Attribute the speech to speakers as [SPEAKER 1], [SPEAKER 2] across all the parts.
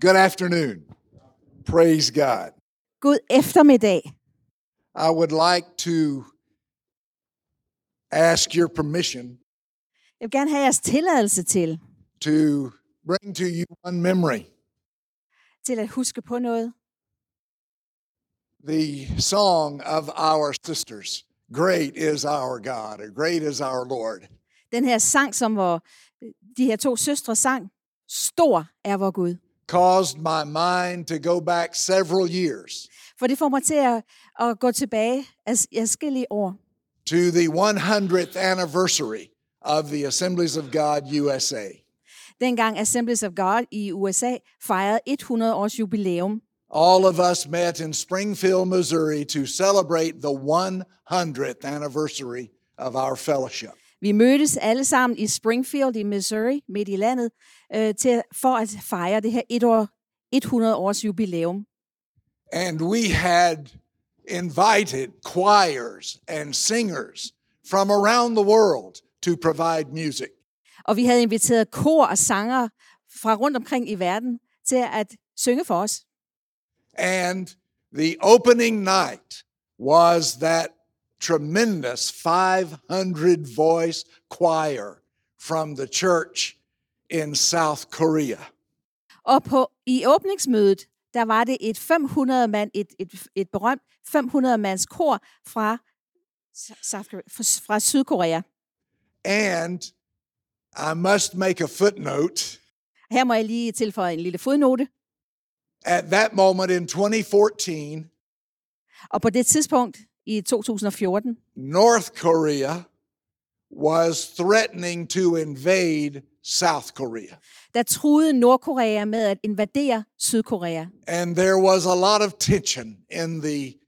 [SPEAKER 1] Good afternoon. Praise God.
[SPEAKER 2] God eftermiddag.
[SPEAKER 1] I would like to ask your permission
[SPEAKER 2] Jeg vil gerne have jeres tilladelse til,
[SPEAKER 1] to bring to you one memory.
[SPEAKER 2] til at huske på noget.
[SPEAKER 1] The song of our sisters Great is our God, or Great is our Lord.
[SPEAKER 2] Den her sang, som vor, de her to søstre sang, Stor er vor Gud.
[SPEAKER 1] Caused my mind to go back several years
[SPEAKER 2] For det får mig til at, at gå tilbage af forskellige år
[SPEAKER 1] to the 100th anniversary of the Assemblies of God USA.
[SPEAKER 2] dengang Assemblies of God i USA fejrede 100 års jubilæum.
[SPEAKER 1] All of us met in Springfield, Missouri to celebrate the 100th anniversary of our fellowship.
[SPEAKER 2] Vi mødtes alle sammen i Springfield i Missouri, midt i landet, øh, til, for at fejre det her et år, 100 års jubilæum.
[SPEAKER 1] And we had invited choirs and singers from around the world to provide music.
[SPEAKER 2] Og vi havde inviteret kor og sanger fra rundt omkring i verden til at synge for os.
[SPEAKER 1] And the opening night was that tremendous 500 voice choir from the church in South Korea.
[SPEAKER 2] Og på, i åbningsmødet, der var det et 500 mand, et, et, et berømt 500 mands kor fra, South Korea, fra, fra Sydkorea.
[SPEAKER 1] And I must make a footnote.
[SPEAKER 2] Her må jeg lige tilføje en lille fodnote.
[SPEAKER 1] At that moment in 2014,
[SPEAKER 2] Og på det tidspunkt i 2014,
[SPEAKER 1] North Korea was threatening to invade South Korea.
[SPEAKER 2] der truede Nordkorea med at invadere Sydkorea.
[SPEAKER 1] And there was a lot of tension in the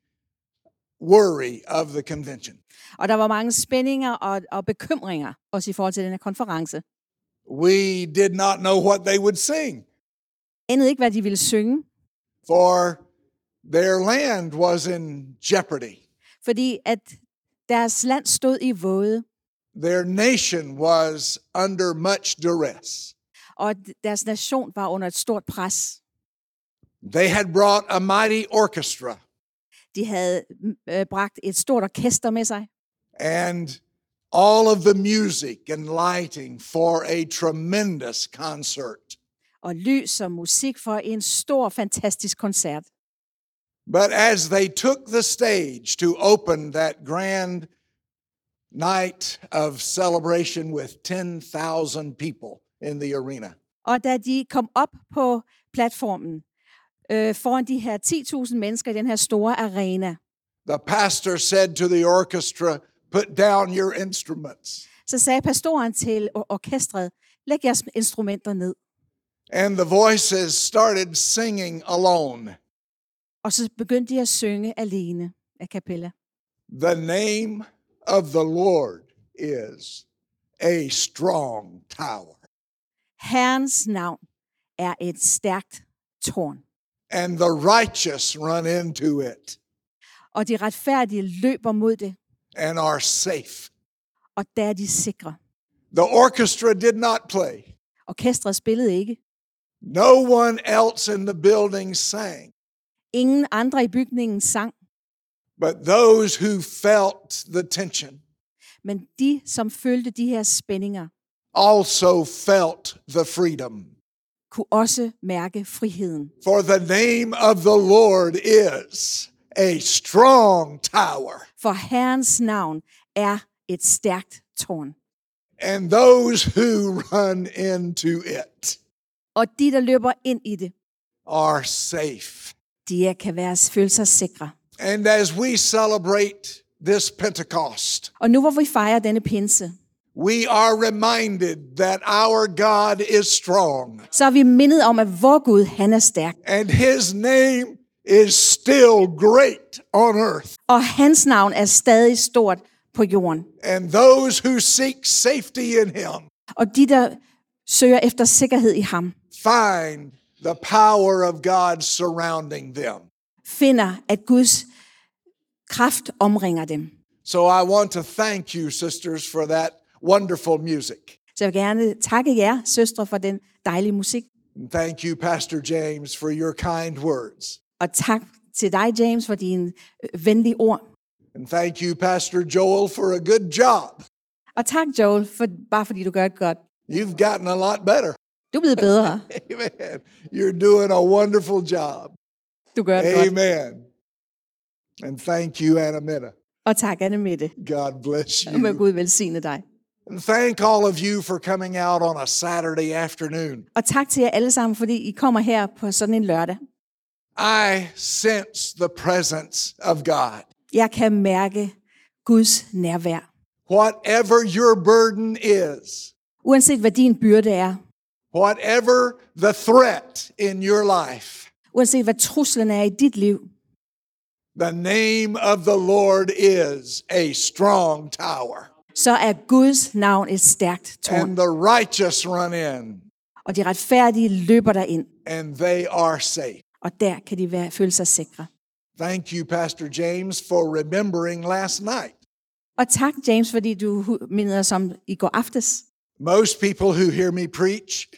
[SPEAKER 1] worry of the convention.
[SPEAKER 2] Og der var mange spændinger og, og bekymringer, også i forhold til den her konference.
[SPEAKER 1] We did not know what they would sing,
[SPEAKER 2] Endede ikke, hvad de ville synge,
[SPEAKER 1] for their land was in jeopardy.
[SPEAKER 2] fordi at deres land stod i våde,
[SPEAKER 1] Their nation was under much duress.
[SPEAKER 2] og at deres nation var under et stort pres.
[SPEAKER 1] They had brought a mighty orchestra
[SPEAKER 2] De havde øh, bragt et stort orkester med sig,
[SPEAKER 1] and all of the music and lighting for a tremendous concert.
[SPEAKER 2] og lys og musik for en stor, fantastisk koncert.
[SPEAKER 1] But as they took the stage to open that grand night of celebration with 10,000 people in the arena,
[SPEAKER 2] Og da de kom op på platformen øh, foran de her 10.000 mennesker i den her store arena,
[SPEAKER 1] the pastor said to the orchestra, Put down your instruments.
[SPEAKER 2] så sagde pastoren til or- orkestret, læg jeres instrumenter ned.
[SPEAKER 1] And the voices started singing alone
[SPEAKER 2] Og så begyndte de at synge alene af kapella.
[SPEAKER 1] The name of the Lord is a strong tower.
[SPEAKER 2] Herrens navn er et stærkt tårn,
[SPEAKER 1] and the righteous run into it
[SPEAKER 2] og de retfærdige løber mod det,
[SPEAKER 1] and are safe.
[SPEAKER 2] og der er de sikre.
[SPEAKER 1] The orchestra did not play.
[SPEAKER 2] Orkestret spillede ikke.
[SPEAKER 1] No one else in the building sang,
[SPEAKER 2] Ingen andre i bygningen sang,
[SPEAKER 1] but those who felt the tension
[SPEAKER 2] men de, som følte de her spændinger,
[SPEAKER 1] also felt the freedom.
[SPEAKER 2] kunne også mærke friheden.
[SPEAKER 1] For the name of the Lord is a strong tower,
[SPEAKER 2] For Herrens navn er et stærkt tårn.
[SPEAKER 1] and those who run into it
[SPEAKER 2] Og de, der løber ind i det,
[SPEAKER 1] are safe.
[SPEAKER 2] de kan være, føle sig sikre.
[SPEAKER 1] And as we celebrate this Pentecost,
[SPEAKER 2] Og nu hvor vi fejrer denne pinse,
[SPEAKER 1] we are reminded that our God is strong
[SPEAKER 2] så er vi mindet om, at vor Gud, han er stærk.
[SPEAKER 1] and his name is still great on earth.
[SPEAKER 2] Og hans navn er stadig stort på jorden.
[SPEAKER 1] And those who seek safety in him
[SPEAKER 2] Og de, der søger efter sikkerhed i ham,
[SPEAKER 1] find the power of God surrounding them.
[SPEAKER 2] finder, at Guds kraft omringer dem.
[SPEAKER 1] So I want to thank you, sisters, for that wonderful music.
[SPEAKER 2] Så jeg vil gerne takke jer, søstre, for den dejlige musik.
[SPEAKER 1] And thank you, Pastor James, for your kind words.
[SPEAKER 2] Og tak til dig, James, for dine øh, venlige ord.
[SPEAKER 1] And thank you, Pastor Joel, for a good job.
[SPEAKER 2] Og tak, Joel, for, bare fordi du gør det godt.
[SPEAKER 1] You've gotten a lot better.
[SPEAKER 2] Du er blevet bedre.
[SPEAKER 1] Amen. You're doing a wonderful job.
[SPEAKER 2] Du gør det godt.
[SPEAKER 1] Amen. And thank you, Anna Minna.
[SPEAKER 2] Og tak, Anne Mette.
[SPEAKER 1] God bless you.
[SPEAKER 2] Og må Gud velsigne dig.
[SPEAKER 1] And thank all of you for coming out on a Saturday afternoon.
[SPEAKER 2] Og tak til jer alle sammen, fordi I kommer her på sådan en lørdag.
[SPEAKER 1] I sense the presence of God.
[SPEAKER 2] Jeg kan mærke Guds nærvær.
[SPEAKER 1] Whatever your burden is,
[SPEAKER 2] Uanset hvad din byrde er,
[SPEAKER 1] whatever the threat in your life,
[SPEAKER 2] uanset hvad truslen er i dit liv,
[SPEAKER 1] the name of the Lord is a strong tower,
[SPEAKER 2] så er Guds navn et stærkt tårn.
[SPEAKER 1] and the righteous run in,
[SPEAKER 2] Og de retfærdige løber derind,
[SPEAKER 1] and they are safe.
[SPEAKER 2] og der kan de være, føle sig sikre.
[SPEAKER 1] Thank you, Pastor James, for remembering last night.
[SPEAKER 2] Og tak, James, fordi du hu- mindede os om i går aftes.
[SPEAKER 1] Most people who hear me preach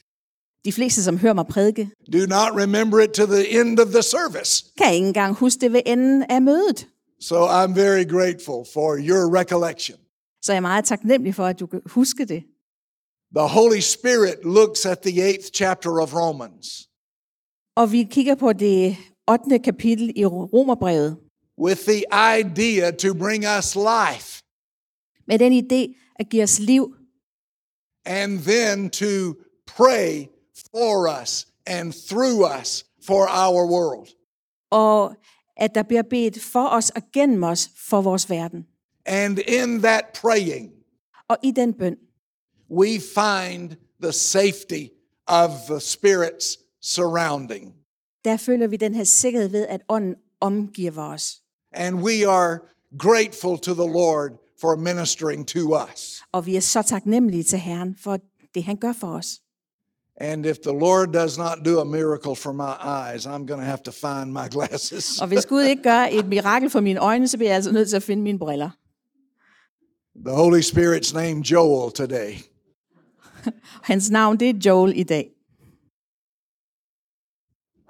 [SPEAKER 2] De fleste, som hører mig prædike,
[SPEAKER 1] do not remember it to the end of the service.
[SPEAKER 2] kan ikke engang huske det ved enden af mødet.
[SPEAKER 1] So I'm very grateful for your recollection.
[SPEAKER 2] Så jeg er meget taknemmelig for, at du kan huske det.
[SPEAKER 1] The Holy Spirit looks at the eighth chapter of Romans
[SPEAKER 2] Og vi kigger på det 8. kapitel i Romerbrevet,
[SPEAKER 1] with the idea to bring us life
[SPEAKER 2] med den idé at give os liv,
[SPEAKER 1] and then to pray for us and through us for our world.
[SPEAKER 2] og at der bliver bedt for os og gennem os for vores verden.
[SPEAKER 1] And in that praying,
[SPEAKER 2] Og i den bøn,
[SPEAKER 1] we find the safety of the Spirit's surrounding.
[SPEAKER 2] der føler vi den her sikkerhed ved, at ånden omgiver os.
[SPEAKER 1] And we are grateful to the Lord for ministering to us.
[SPEAKER 2] Og vi er så taknemmelige til Herren for det, han gør for os.
[SPEAKER 1] And if the Lord does not do a miracle for my eyes, I'm going to have to find my glasses.
[SPEAKER 2] Og hvis Gud ikke gør et mirakel for mine øjne, så bliver jeg altså nødt til at finde mine briller.
[SPEAKER 1] The Holy Spirit's name, Joel, today.
[SPEAKER 2] Hans navn, det er Joel i dag.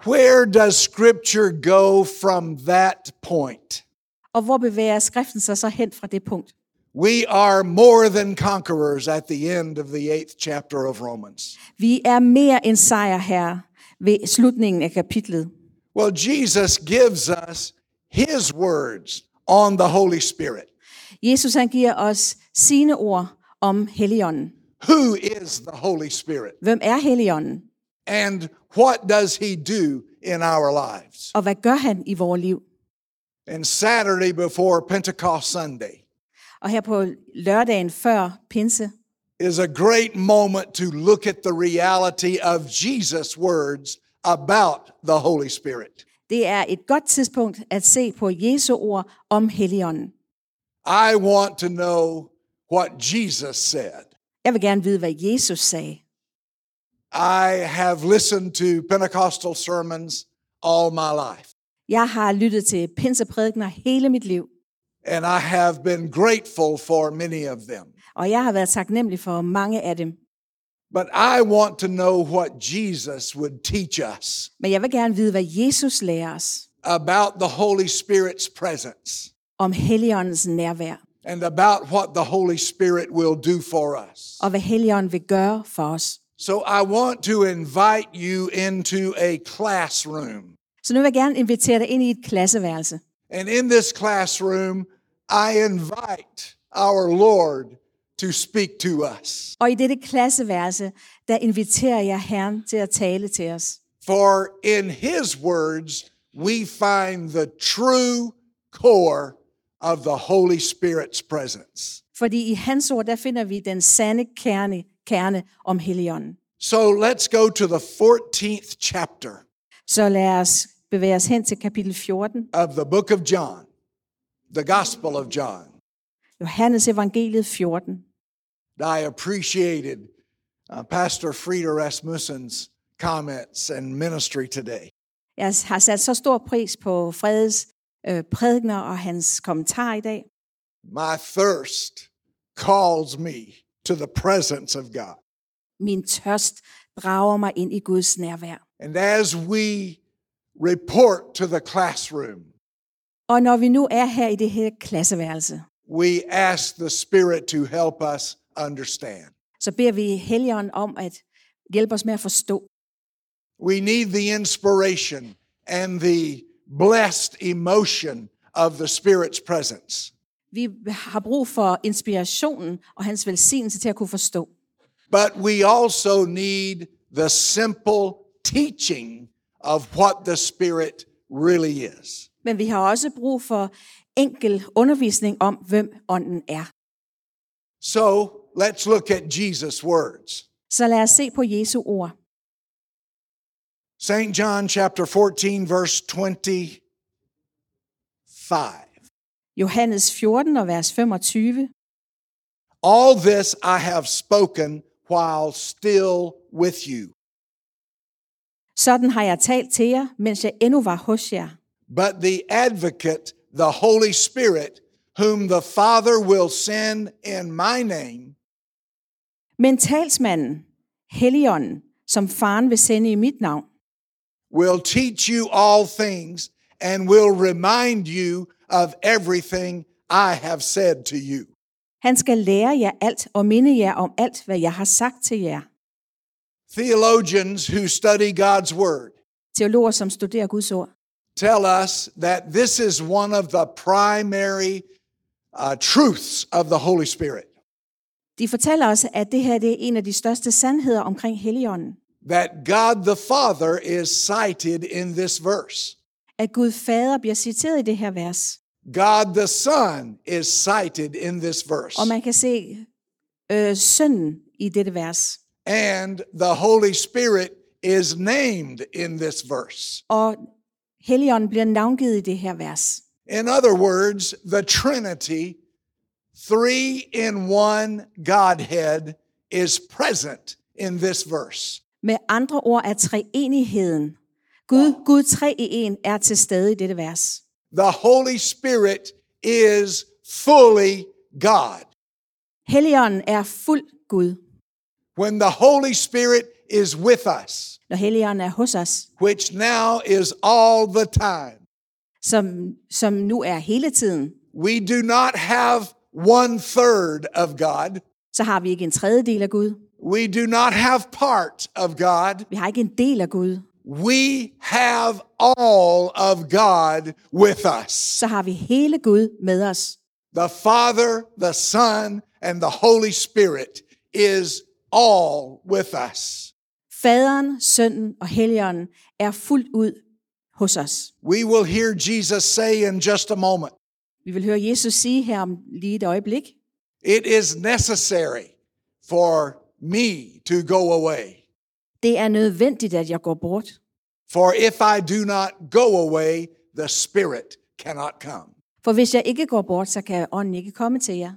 [SPEAKER 1] Where does Scripture go from that point?
[SPEAKER 2] Og hvor bevæger skriften sig så hen fra det punkt?
[SPEAKER 1] We are more than conquerors at the end of the eighth chapter of Romans.
[SPEAKER 2] Vi er mere end sejr her ved slutningen af kapitlet.
[SPEAKER 1] Well, Jesus gives us his words on the Holy Spirit.
[SPEAKER 2] Jesus han giver os sine ord om Helligånden.
[SPEAKER 1] Who is the Holy Spirit?
[SPEAKER 2] Hvem er Helligånden?
[SPEAKER 1] And what does he do in our lives?
[SPEAKER 2] Og hvad gør han i vores liv?
[SPEAKER 1] And Saturday before Pentecost Sunday
[SPEAKER 2] Og her på lørdagen før pinse,
[SPEAKER 1] is a great moment to look at the reality of Jesus' words about the Holy Spirit.
[SPEAKER 2] det er et godt tidspunkt at se på Jesu ord om Helligånden.
[SPEAKER 1] I want to know what Jesus said.
[SPEAKER 2] Jeg vil gerne vide, hvad Jesus sagde.
[SPEAKER 1] I have listened to Pentecostal sermons all my life.
[SPEAKER 2] Jeg har lyttet til pinseprædikner hele mit liv,
[SPEAKER 1] and I have been grateful for many of them.
[SPEAKER 2] og jeg har været taknemmelig for mange af dem.
[SPEAKER 1] But I want to know what Jesus would teach us
[SPEAKER 2] Men jeg vil gerne vide, hvad Jesus lærer os
[SPEAKER 1] about the Holy Spirit's presence
[SPEAKER 2] om Helligåndens nærvær,
[SPEAKER 1] and about what the Holy Spirit will do for us.
[SPEAKER 2] og hvad Helligånden vil gøre for os.
[SPEAKER 1] So I want to invite you into a classroom.
[SPEAKER 2] Så nu vil jeg gerne invitere dig ind i et klasseværelse.
[SPEAKER 1] And in this classroom, I invite our Lord to speak to us.
[SPEAKER 2] Og i dette klasseværelse, der inviterer jeg Herren til at tale til os.
[SPEAKER 1] For in his words, we find the true core of the Holy Spirit's presence.
[SPEAKER 2] Fordi i hans ord, der finder vi den sande kerne, kerne om Helligånden.
[SPEAKER 1] So let's go to the 14th chapter
[SPEAKER 2] Så lad os bevæge os hen til kapitel 14,
[SPEAKER 1] of the book of John, the Gospel of John.
[SPEAKER 2] Johannes evangeliet 14.
[SPEAKER 1] I appreciated uh, Pastor Frieda Rasmussen's comments and ministry today.
[SPEAKER 2] Jeg har sat så stor pris på Fredes øh, prædikner og hans kommentar i dag.
[SPEAKER 1] My thirst calls me to the presence of God.
[SPEAKER 2] Min tørst drager mig ind i Guds nærvær.
[SPEAKER 1] And as we report to the classroom,
[SPEAKER 2] Og når vi nu er her i det her klasseværelse,
[SPEAKER 1] we ask the Spirit to help us understand.
[SPEAKER 2] så beder vi Helligånden om at hjælpe os med at forstå.
[SPEAKER 1] We need the inspiration and the blessed emotion of the Spirit's presence.
[SPEAKER 2] Vi har brug for inspirationen og hans velsignelse til at kunne forstå.
[SPEAKER 1] But we also need the simple teaching of what the Spirit really is.
[SPEAKER 2] Men vi har også brug for enkel undervisning om, hvem ånden er.
[SPEAKER 1] So let's look at Jesus' words.
[SPEAKER 2] Så lad os se på Jesu ord.
[SPEAKER 1] St. John chapter 14, verse 25.
[SPEAKER 2] Johannes 14 og vers 25.
[SPEAKER 1] All this I have spoken while still with you.
[SPEAKER 2] Sådan har jeg talt til jer, mens jeg endnu var hos jer.
[SPEAKER 1] But the advocate, the Holy Spirit, whom the Father will send in my name,
[SPEAKER 2] Men talsmanden, Helligånden, som faren vil sende i mit navn,
[SPEAKER 1] will teach you all things and will remind you of everything I have said to you.
[SPEAKER 2] han skal lære jer alt og minde jer om alt, hvad jeg har sagt til jer.
[SPEAKER 1] Theologians who study God's Word
[SPEAKER 2] Teologer, som studerer Guds ord,
[SPEAKER 1] tell us that this is one of the primary uh, truths of the Holy Spirit.
[SPEAKER 2] de fortæller os, at det her det er en af de største sandheder omkring Helligånden.
[SPEAKER 1] That God the Father is cited in this verse,
[SPEAKER 2] At Gud Fader bliver citeret i det her vers.
[SPEAKER 1] God the Son is cited in this verse,
[SPEAKER 2] Og man kan se øh, sønnen i dette vers.
[SPEAKER 1] and the Holy Spirit is named in this verse.
[SPEAKER 2] Og Helligånden bliver navngivet i det her vers.
[SPEAKER 1] In other words, the Trinity, three in one Godhead, is present in this verse.
[SPEAKER 2] Med andre ord er treenigheden. Gud, Gud tre i en er til stede i dette vers.
[SPEAKER 1] The Holy Spirit is fully God.
[SPEAKER 2] Helligånden er fuld Gud,
[SPEAKER 1] When the Holy Spirit is with us,
[SPEAKER 2] når Helligånden er hos os,
[SPEAKER 1] which now is all the time,
[SPEAKER 2] som, som nu er hele tiden.
[SPEAKER 1] we do not have one third of God.
[SPEAKER 2] Så har vi ikke en tredjedel af Gud.
[SPEAKER 1] We do not have part of God.
[SPEAKER 2] Vi har ikke en del af Gud.
[SPEAKER 1] We have all of God with us.
[SPEAKER 2] Så har vi hele Gud med os.
[SPEAKER 1] The Father, the Son, and the Holy Spirit is all with us.
[SPEAKER 2] Faderen, Sønnen og Helligånden er fuldt ud hos os.
[SPEAKER 1] We will hear Jesus say in just a moment
[SPEAKER 2] Vi vil høre Jesus sige her om lige et øjeblik.
[SPEAKER 1] it is necessary for me to go away.
[SPEAKER 2] Det er nødvendigt, at jeg går bort.
[SPEAKER 1] For if I do not go away, the Spirit cannot come.
[SPEAKER 2] For hvis jeg ikke går bort, så kan ånden ikke komme til jer.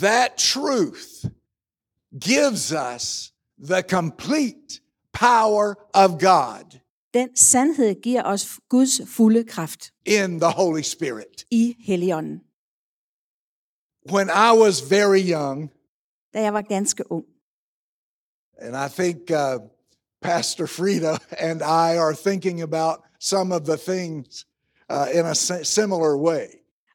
[SPEAKER 1] That truth gives us the complete power of God
[SPEAKER 2] Den sandhed giver os Guds fulde kraft
[SPEAKER 1] in the Holy Spirit.
[SPEAKER 2] i Helligånden.
[SPEAKER 1] When I was very young,
[SPEAKER 2] Da jeg var ganske ung.
[SPEAKER 1] and I think uh, Pastor Frida and I are thinking about some of the things uh, in a si- similar way.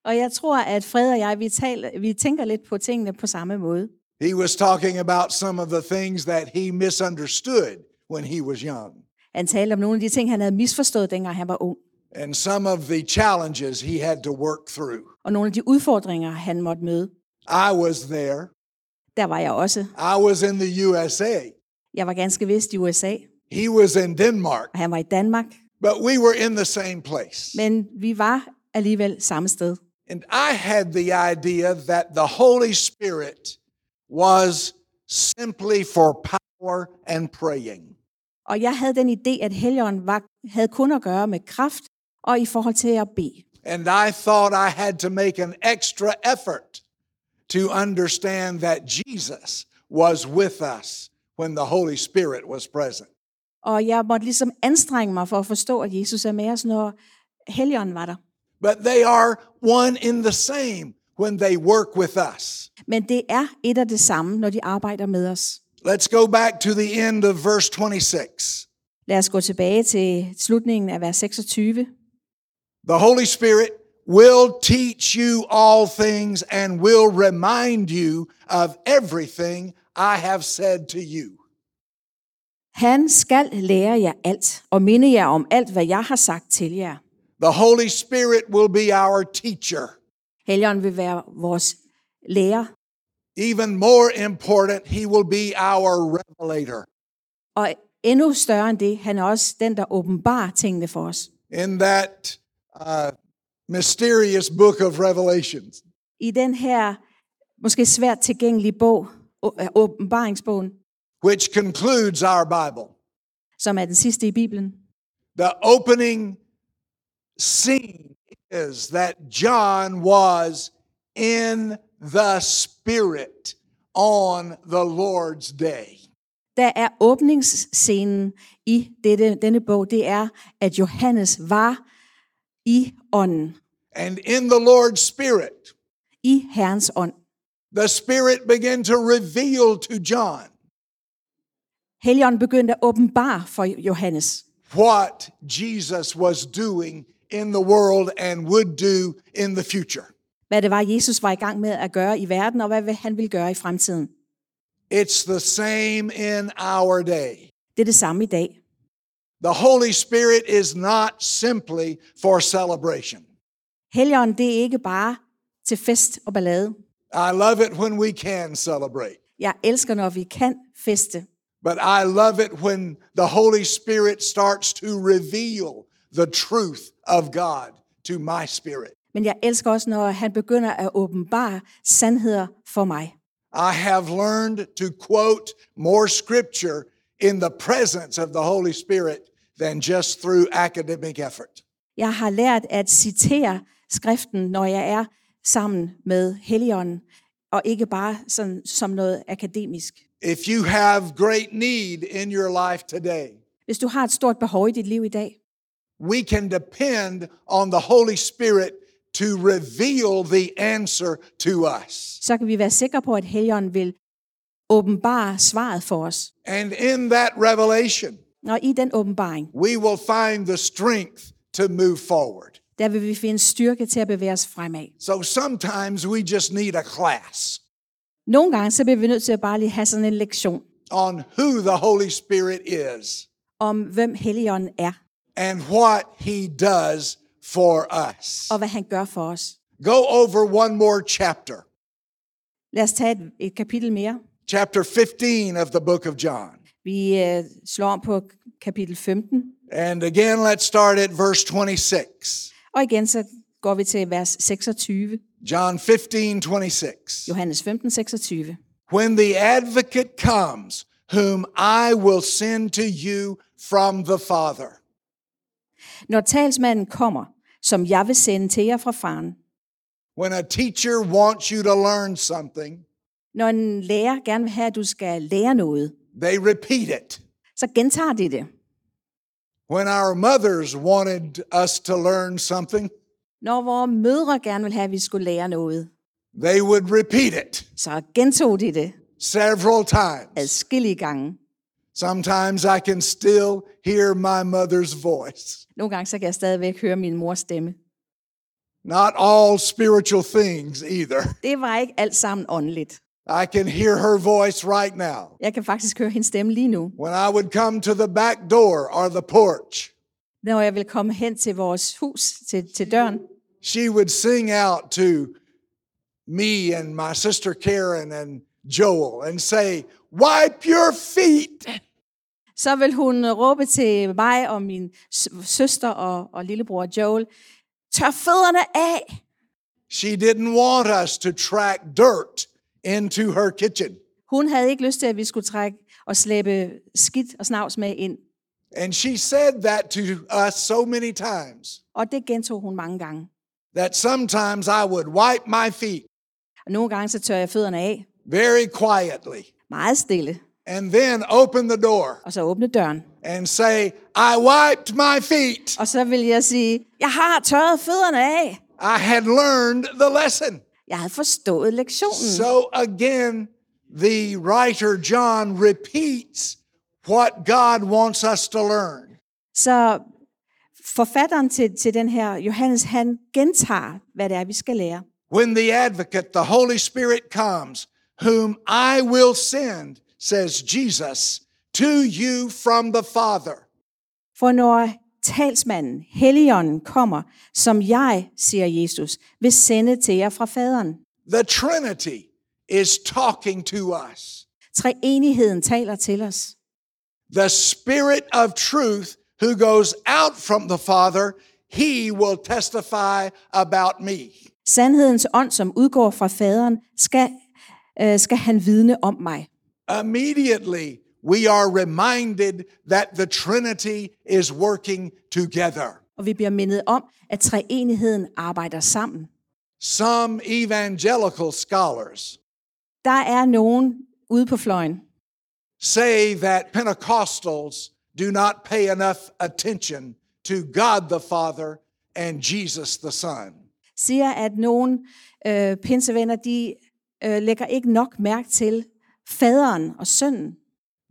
[SPEAKER 2] Og jeg tror, at Fred og jeg, vi, taler, vi tænker lidt på tingene på samme måde.
[SPEAKER 1] He was talking about some of the things that he misunderstood when he was young
[SPEAKER 2] Han talte om nogle af de ting, han havde misforstået, dengang han var ung.
[SPEAKER 1] and some of the challenges he had to work through.
[SPEAKER 2] Og nogle af de udfordringer, han måtte møde.
[SPEAKER 1] I was there.
[SPEAKER 2] Der var jeg også.
[SPEAKER 1] I was in the USA.
[SPEAKER 2] Jeg var ganske vist i USA,
[SPEAKER 1] He was in Denmark,
[SPEAKER 2] og han var i Danmark.
[SPEAKER 1] but we were in the same place.
[SPEAKER 2] Men vi var alligevel samme sted.
[SPEAKER 1] And I had the idea that the Holy Spirit was simply for power and praying.
[SPEAKER 2] Og jeg havde den idé, at Helligånden var, havde kun at gøre med kraft og i forhold til at bede.
[SPEAKER 1] And I thought I had to make an extra effort to understand that Jesus was with us when the Holy Spirit was present.
[SPEAKER 2] Og jeg måtte ligesom anstrenge mig for at forstå, at Jesus er med os, når Helligånden var der.
[SPEAKER 1] But they are one in the same when they work with us.
[SPEAKER 2] Men det er et af det samme, når de arbejder med os.
[SPEAKER 1] Let's go back to the end of verse 26.
[SPEAKER 2] Lad os gå tilbage til slutningen af vers 26.
[SPEAKER 1] The Holy Spirit will teach you all things and will remind you of everything I have said to you.
[SPEAKER 2] Han skal lære jer alt og minde jer om alt, hvad jeg har sagt til jer.
[SPEAKER 1] The Holy Spirit will be our teacher.
[SPEAKER 2] Helligånden vil være vores lærer,
[SPEAKER 1] Even more important, He will be our revelator.
[SPEAKER 2] og endnu større end det, han er også den, der åbenbarer tingene for os.
[SPEAKER 1] In that uh, mysterious book of Revelations,
[SPEAKER 2] I den her måske svært tilgængelige bog, å- øh, åbenbaringsbogen,
[SPEAKER 1] which concludes our Bible,
[SPEAKER 2] som er den sidste i Bibelen,
[SPEAKER 1] the opening scene is that John was in the Spirit on the Lord's day.
[SPEAKER 2] der er åbningsscenen i dette, denne bog, det er, at Johannes var i ånden,
[SPEAKER 1] And in the Lord's Spirit,
[SPEAKER 2] i Herrens ånd.
[SPEAKER 1] the Spirit began to reveal to John
[SPEAKER 2] Helligånden begyndte at åbenbare for Johannes,
[SPEAKER 1] what Jesus was doing in the world and would do in the future.
[SPEAKER 2] hvad det var, Jesus var i gang med at gøre i verden, og hvad han ville gøre i fremtiden.
[SPEAKER 1] It's the same in our day.
[SPEAKER 2] Det er det samme i dag.
[SPEAKER 1] The Holy Spirit is not simply for celebration.
[SPEAKER 2] Helligånden, det er ikke bare til fest og ballade.
[SPEAKER 1] I love it when we can celebrate,
[SPEAKER 2] Jeg elsker, når vi kan feste,
[SPEAKER 1] but I love it when the Holy Spirit starts to reveal the truth of God to my spirit.
[SPEAKER 2] men jeg elsker også, når han begynder at åbenbare sandheder for mig.
[SPEAKER 1] I have learned to quote more scripture in the presence of the Holy Spirit than just through academic effort.
[SPEAKER 2] Jeg har lært at citere skriften, når jeg er sammen med Helligånden, og ikke bare sådan, som noget akademisk.
[SPEAKER 1] If you have great need in your life today,
[SPEAKER 2] Hvis du har et stort behov i dit liv i dag,
[SPEAKER 1] we can depend on the Holy Spirit to reveal the answer to us.
[SPEAKER 2] så kan vi være sikre på, at Helligånden vil åbenbare svaret for os.
[SPEAKER 1] And in that revelation,
[SPEAKER 2] Og i den åbenbaring,
[SPEAKER 1] we will find the strength to move forward.
[SPEAKER 2] der vil vi finde styrke til at bevæge os fremad.
[SPEAKER 1] So sometimes we just need a class
[SPEAKER 2] Nogle gange så bliver vi nødt til at bare lige have sådan en lektion
[SPEAKER 1] on who the Holy Spirit is
[SPEAKER 2] om, hvem Helligånden er,
[SPEAKER 1] and what he does for us.
[SPEAKER 2] og hvad han gør for os.
[SPEAKER 1] Go over one more chapter,
[SPEAKER 2] Lad os tage et, et kapitel mere.
[SPEAKER 1] chapter 15 of the book of John.
[SPEAKER 2] Vi øh, slår om på kapitel 15,
[SPEAKER 1] And again, let's start at verse 26.
[SPEAKER 2] og igen så går vi til vers 26,
[SPEAKER 1] John 15, 26.
[SPEAKER 2] Johannes 15, 26.
[SPEAKER 1] When the advocate comes, whom I will send to you from the Father,
[SPEAKER 2] Når talsmanden kommer, som jeg vil sende til jer fra faren,
[SPEAKER 1] when a teacher wants you to learn something,
[SPEAKER 2] når en lærer gerne vil have, at du skal lære noget,
[SPEAKER 1] they repeat it.
[SPEAKER 2] så gentager de det.
[SPEAKER 1] When our mothers wanted us to learn something,
[SPEAKER 2] Når vores mødre gerne vil have, at vi skulle lære noget,
[SPEAKER 1] they would repeat it
[SPEAKER 2] så gentog de det
[SPEAKER 1] several times.
[SPEAKER 2] adskillige gange.
[SPEAKER 1] Sometimes I can still hear my mother's voice.
[SPEAKER 2] Nogle gange så kan jeg stadigvæk høre min mors stemme.
[SPEAKER 1] Not all spiritual things either.
[SPEAKER 2] Det var ikke alt sammen åndeligt.
[SPEAKER 1] I can hear her voice right now.
[SPEAKER 2] Jeg kan faktisk høre hendes stemme lige nu.
[SPEAKER 1] When I would come to the back door or the porch,
[SPEAKER 2] Når jeg vil komme hen til vores hus, til, til døren,
[SPEAKER 1] she would sing out to me and my sister Karen and Joel and say, Wipe your feet.
[SPEAKER 2] så vil hun øh, råbe til mig og min s- søster og, og lillebror Joel, tør fødderne af!
[SPEAKER 1] She didn't want us to track dirt into her kitchen.
[SPEAKER 2] Hun havde ikke lyst til, at vi skulle trække og slæbe skidt og snavs med ind.
[SPEAKER 1] And she said that to us so many times
[SPEAKER 2] Og det gentog hun mange gange.
[SPEAKER 1] that sometimes I would wipe my feet
[SPEAKER 2] Og nogle gange så tør jeg fødderne af,
[SPEAKER 1] very quietly
[SPEAKER 2] meget stille,
[SPEAKER 1] and then open the door
[SPEAKER 2] og så åbne døren.
[SPEAKER 1] and say, I wiped my feet.
[SPEAKER 2] Og så vil jeg sige, jeg har tørret fødderne af.
[SPEAKER 1] I had learned the lesson.
[SPEAKER 2] Jeg havde forstået lektionen.
[SPEAKER 1] So again, the writer John repeats what God wants us to learn.
[SPEAKER 2] Så forfatteren til, til den her Johannes, han gentager, hvad det er, vi skal lære.
[SPEAKER 1] When the advocate, the Holy Spirit, comes, whom I will send, says Jesus, to you from the Father.
[SPEAKER 2] For når talsmanden, Helligånden, kommer, som jeg, siger Jesus, vil sende til jer fra faderen.
[SPEAKER 1] The Trinity is talking to us.
[SPEAKER 2] Treenigheden taler til os.
[SPEAKER 1] The Spirit of truth, who goes out from the Father, he will testify about me.
[SPEAKER 2] Sandhedens ånd, som udgår fra faderen, skal, øh, skal han vidne om mig.
[SPEAKER 1] Immediately, we are reminded that the Trinity is working together.
[SPEAKER 2] Og vi bliver mindet om, at treenigheden arbejder sammen.
[SPEAKER 1] Some evangelical scholars
[SPEAKER 2] Der er nogen ude på fløjen,
[SPEAKER 1] say that Pentecostals do not pay enough attention to God the Father and Jesus the Son.
[SPEAKER 2] siger, at nogen øh, pinsevenner, de øh, lægger ikke nok mærke til faderen og sønnen.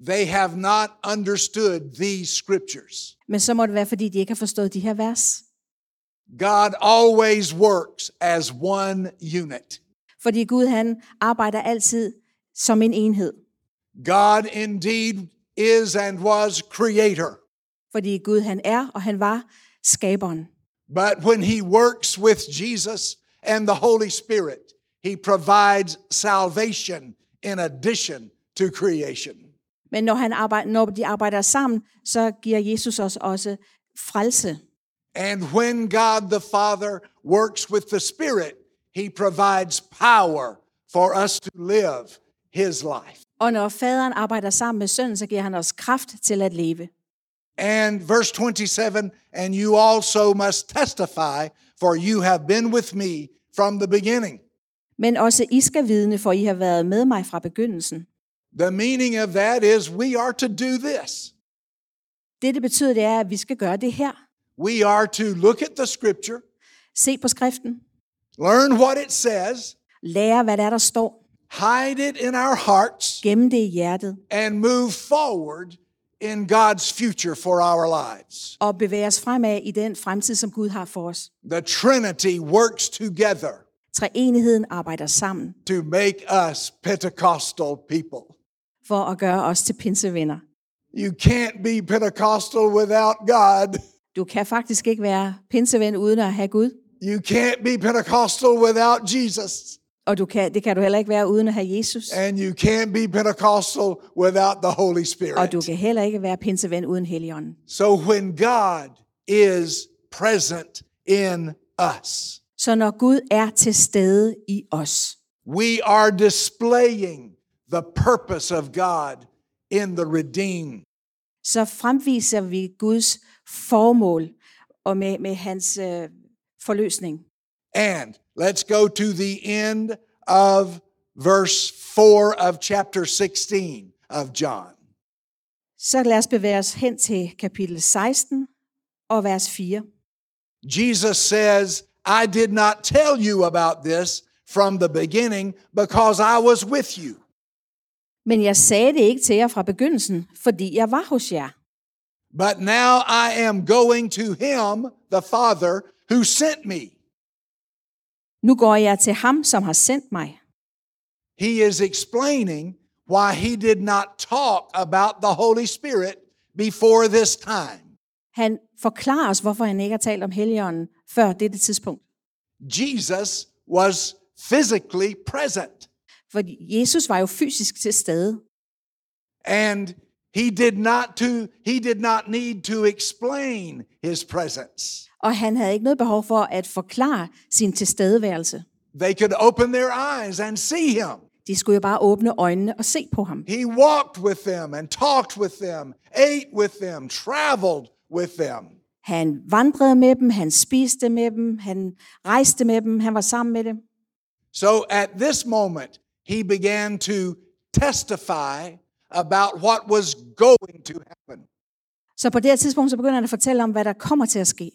[SPEAKER 1] They have not understood these scriptures.
[SPEAKER 2] Men så må det være, fordi de ikke har forstået de her vers.
[SPEAKER 1] God always works as one unit.
[SPEAKER 2] Fordi Gud, han arbejder altid som en enhed.
[SPEAKER 1] God indeed is and was creator.
[SPEAKER 2] Fordi Gud, han er, og han var skaberen.
[SPEAKER 1] But when he works with Jesus and the Holy Spirit, he provides salvation in addition to creation.
[SPEAKER 2] Men når, han arbejder, når de arbejder sammen, så giver Jesus os også frelse.
[SPEAKER 1] And when God the Father works with the Spirit, he provides power for us to live his life.
[SPEAKER 2] Og når faderen arbejder sammen med sønnen, så giver han os kraft til at leve.
[SPEAKER 1] And verse 27 and you also must testify, for you have been with me from the beginning.
[SPEAKER 2] Men også I skal vidne, for I har været med mig fra begyndelsen.
[SPEAKER 1] The meaning of that is we are to do this.
[SPEAKER 2] Det, det betyder, det er, at vi skal gøre det her.
[SPEAKER 1] We are to look at the scripture,
[SPEAKER 2] Se på skriften.
[SPEAKER 1] learn what it says,
[SPEAKER 2] Lære, hvad der, er, der står.
[SPEAKER 1] hide it in our hearts,
[SPEAKER 2] Gemme det i hjertet.
[SPEAKER 1] and move forward in God's future for our lives.
[SPEAKER 2] Og bevæge os fremad i den fremtid, som Gud har for os.
[SPEAKER 1] The Trinity works together
[SPEAKER 2] Treenigheden arbejder sammen
[SPEAKER 1] to make us Pentecostal people.
[SPEAKER 2] for at gøre os til pinsevenner.
[SPEAKER 1] You can't be Pentecostal without God.
[SPEAKER 2] Du kan faktisk ikke være pinseven uden at have Gud.
[SPEAKER 1] You can't be Pentecostal without Jesus.
[SPEAKER 2] Og du kan, det kan du heller ikke være uden at have Jesus.
[SPEAKER 1] And you can't be Pentecostal without the Holy
[SPEAKER 2] Og du
[SPEAKER 1] Spirit.
[SPEAKER 2] kan heller ikke være pinseven uden Helligånden.
[SPEAKER 1] So when God is present in us,
[SPEAKER 2] Så når Gud er til stede i os,
[SPEAKER 1] We are displaying the purpose of God in the redeemed.
[SPEAKER 2] så fremviser vi Guds formål og med, med hans øh, forløsning.
[SPEAKER 1] And let's go to the end of verse 4 of chapter 16 of John.
[SPEAKER 2] Så lad os bevæge os hen til kapitel 16 og vers 4.
[SPEAKER 1] Jesus says, I did not tell you about this from the beginning because I was with you.
[SPEAKER 2] Men jeg sagde det ikke til jer fra begyndelsen, fordi jeg var hos jer.
[SPEAKER 1] But now I am going to him, the Father, who sent me.
[SPEAKER 2] Nu går jeg til ham, som har sendt mig.
[SPEAKER 1] He is explaining why he did not talk about the Holy Spirit before this time.
[SPEAKER 2] Han forklarer os, hvorfor han ikke har talt om Helligånden før dette tidspunkt.
[SPEAKER 1] Jesus was physically present
[SPEAKER 2] For Jesus var jo fysisk til stede,
[SPEAKER 1] and he did not to he did not need to explain his presence.
[SPEAKER 2] og han havde ikke noget behov for at forklare sin tilstedeværelse.
[SPEAKER 1] They could open their eyes and see him.
[SPEAKER 2] De skulle jo bare åbne øjnene og se på ham.
[SPEAKER 1] He walked with them and talked with them, ate with them, traveled with them.
[SPEAKER 2] Han vandrede med dem, han spiste med dem, han rejste med dem, han var sammen med dem.
[SPEAKER 1] So at this moment, he began to testify about what was going to happen.
[SPEAKER 2] Så på det her tidspunkt, så begynder han at fortælle om, hvad der kommer til at ske.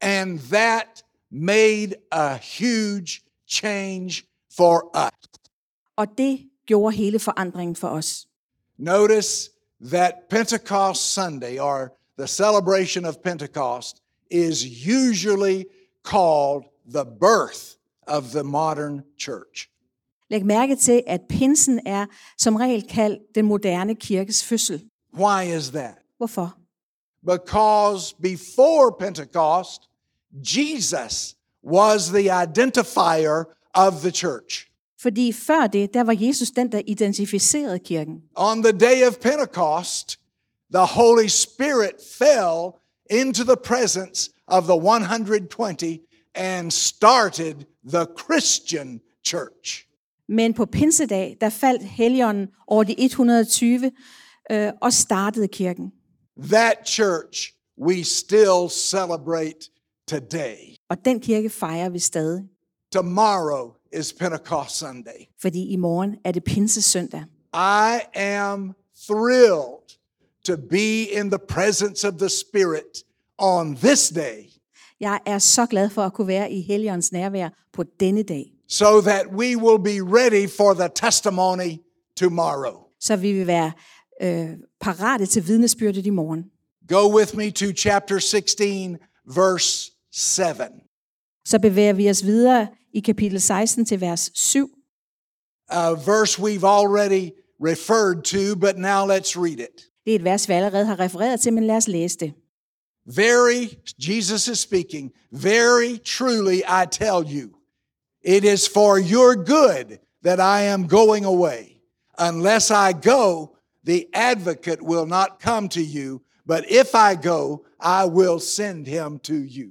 [SPEAKER 1] And that made a huge change for us.
[SPEAKER 2] Og det gjorde hele forandringen for os.
[SPEAKER 1] Notice that Pentecost Sunday, or the celebration of Pentecost, is usually called the birth of the modern church.
[SPEAKER 2] Læg mærke til, at pinsen er som regel kaldt den moderne kirkes fødsel.
[SPEAKER 1] Why is that?
[SPEAKER 2] Hvorfor?
[SPEAKER 1] Because before Pentecost, Jesus was the identifier of the church.
[SPEAKER 2] Fordi før det, der var Jesus den, der identificerede kirken.
[SPEAKER 1] On the day of Pentecost, the Holy Spirit fell into the presence of the 120 and started the Christian church.
[SPEAKER 2] Men på pinsedag, der faldt helligånden over de 120 øh, og startede kirken.
[SPEAKER 1] That church we still celebrate today.
[SPEAKER 2] Og den kirke fejrer vi stadig,
[SPEAKER 1] Tomorrow is Pentecost Sunday.
[SPEAKER 2] fordi i morgen er det pinsesøndag.
[SPEAKER 1] I am thrilled to be in the presence of the Spirit on this day
[SPEAKER 2] Jeg er så glad for at kunne være i helligåndens nærvær på denne dag,
[SPEAKER 1] so that we will be ready for the testimony tomorrow.
[SPEAKER 2] så vi vil være øh, parate til vidnesbyrdet i morgen.
[SPEAKER 1] Go with me to chapter 16, verse 7.
[SPEAKER 2] Så bevæger vi os videre i kapitel 16 til vers 7.
[SPEAKER 1] A verse we've already referred to, but now let's read it.
[SPEAKER 2] Det er et vers, vi allerede har refereret til, men lad os læse det.
[SPEAKER 1] Very, Jesus is speaking, very truly I tell you, it is for your good that I am going away. Unless I go, the advocate will not come to you, but if I go, I will send him to you.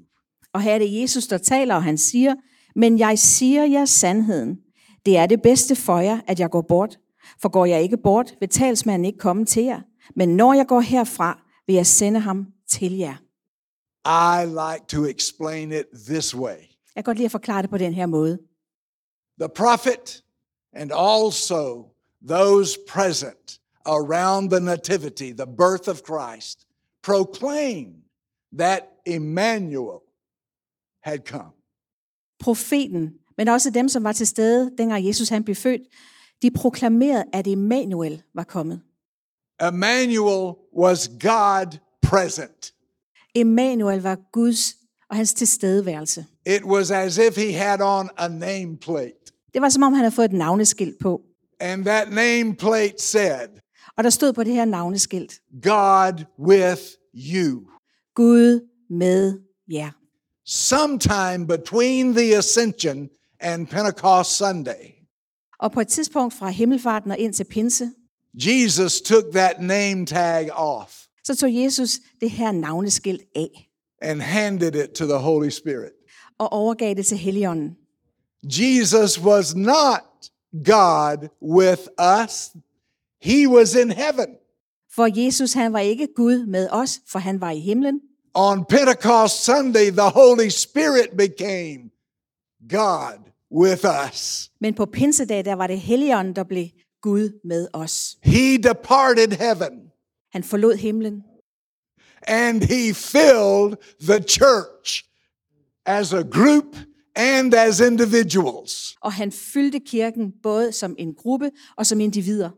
[SPEAKER 2] Og her er det Jesus, der taler, og han siger, men jeg siger jer sandheden. Det er det bedste for jer, at jeg går bort. For går jeg ikke bort, vil talsmanden ikke komme til jer. Men når jeg går herfra, vil jeg sende ham til jer.
[SPEAKER 1] I like to explain it this way
[SPEAKER 2] Jeg kan godt lide at forklare det på den her måde.
[SPEAKER 1] the prophet and also those present around the nativity, the birth of Christ, proclaim that Emmanuel had come.
[SPEAKER 2] Profeten, men også dem, som var til stede, dengang Jesus han blev født, de proklamerede, at Emmanuel var kommet.
[SPEAKER 1] Emmanuel was God present.
[SPEAKER 2] Emmanuel var Guds og hans tilstedeværelse.
[SPEAKER 1] It was as if he had on a nameplate,
[SPEAKER 2] Det var som om, han havde fået et navneskilt på.
[SPEAKER 1] and that nameplate said,
[SPEAKER 2] Og der stod på det her navneskilt,
[SPEAKER 1] God with you.
[SPEAKER 2] Gud med jer.
[SPEAKER 1] Sometime between the ascension and Pentecost Sunday,
[SPEAKER 2] Og på et tidspunkt fra himmelfarten og ind til pinse,
[SPEAKER 1] Jesus took that name tag off
[SPEAKER 2] så tog Jesus det her navneskilt af
[SPEAKER 1] and handed it to the Holy Spirit.
[SPEAKER 2] og overgav det til Helligånden.
[SPEAKER 1] Jesus was not God with us, he was in heaven.
[SPEAKER 2] For Jesus, han var ikke Gud med os, for han var i himlen.
[SPEAKER 1] On Pentecost Sunday, the Holy Spirit became God with us.
[SPEAKER 2] Men på pinsedag, der var det Helligånden, der blev Gud med os.
[SPEAKER 1] He departed heaven
[SPEAKER 2] Han forlod himlen,
[SPEAKER 1] and he filled the church as a group and as individuals.
[SPEAKER 2] og han fyldte kirken både som en gruppe og som individer.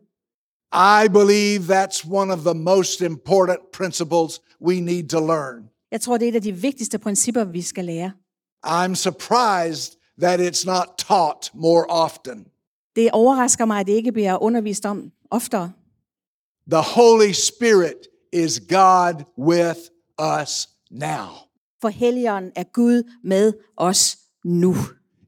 [SPEAKER 1] I believe that's one of the most important principles we need to learn.
[SPEAKER 2] Jeg tror, det er et af de vigtigste principper, vi skal lære.
[SPEAKER 1] I'm surprised that it's not taught more often.
[SPEAKER 2] Det overrasker mig, at det ikke bliver undervist om oftere.
[SPEAKER 1] The Holy Spirit is God with us now.
[SPEAKER 2] For Helligånden er Gud med os nu.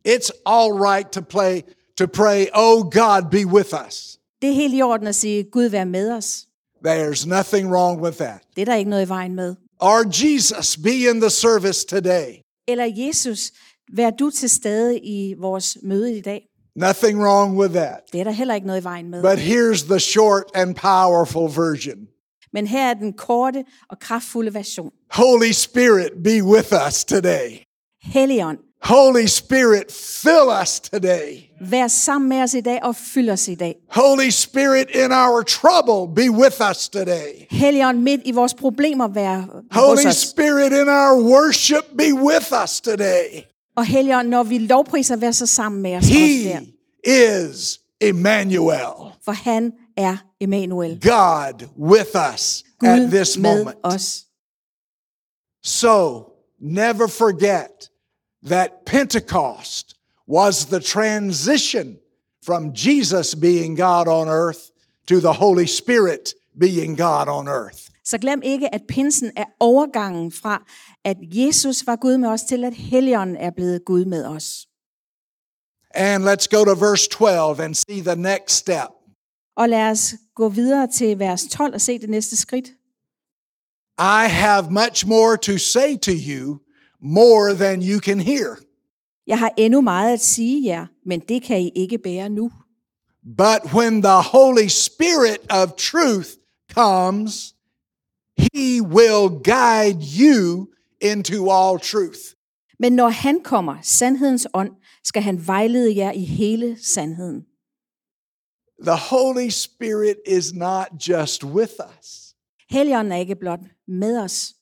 [SPEAKER 1] It's all right to play to pray, "Oh God, be with us."
[SPEAKER 2] Det er helt i orden at sige, Gud vær med os.
[SPEAKER 1] There's nothing wrong with that.
[SPEAKER 2] Det er der ikke noget i vejen med.
[SPEAKER 1] Or Jesus, be in the service today.
[SPEAKER 2] Eller Jesus, vær du til stede i vores møde i dag.
[SPEAKER 1] Nothing wrong with that.
[SPEAKER 2] Det er der heller ikke noget i vejen med.
[SPEAKER 1] But here's the short and powerful version.
[SPEAKER 2] Men her er den korte og kraftfulde version.
[SPEAKER 1] Holy Spirit, be with us today.
[SPEAKER 2] Helligånd,
[SPEAKER 1] Holy Spirit, fill us today.
[SPEAKER 2] vær sammen med os i dag og fyld os i dag.
[SPEAKER 1] Holy Spirit, in our trouble, be with us today.
[SPEAKER 2] Helligånd, midt i vores problemer, vær hos
[SPEAKER 1] Holy
[SPEAKER 2] os.
[SPEAKER 1] Spirit, in our worship, be with us today.
[SPEAKER 2] Og Helligånd, når vi lovpriser, vær så sammen med os. også der.
[SPEAKER 1] He is Emmanuel,
[SPEAKER 2] for han er Emmanuel.
[SPEAKER 1] God with us at this
[SPEAKER 2] Gud med
[SPEAKER 1] moment.
[SPEAKER 2] os.
[SPEAKER 1] So never forget that Pentecost was the transition from Jesus being God on earth to the Holy Spirit being God on earth.
[SPEAKER 2] Så glem ikke, at pinsen er overgangen fra, at Jesus var Gud med os, til at Helligånden er blevet Gud med os.
[SPEAKER 1] And let's go to verse 12 and see the next step.
[SPEAKER 2] Og lad os gå videre til vers 12 og se det næste skridt.
[SPEAKER 1] I have much more to say to you, more than you can hear.
[SPEAKER 2] Jeg har endnu meget at sige jer, men det kan I ikke bære nu.
[SPEAKER 1] But when the Holy Spirit of truth comes, he will guide you into all truth.
[SPEAKER 2] Men når han kommer, sandhedens ånd, skal han vejlede jer i hele sandheden.
[SPEAKER 1] The Holy Spirit is not just with us,
[SPEAKER 2] Helligånden er ikke blot med os.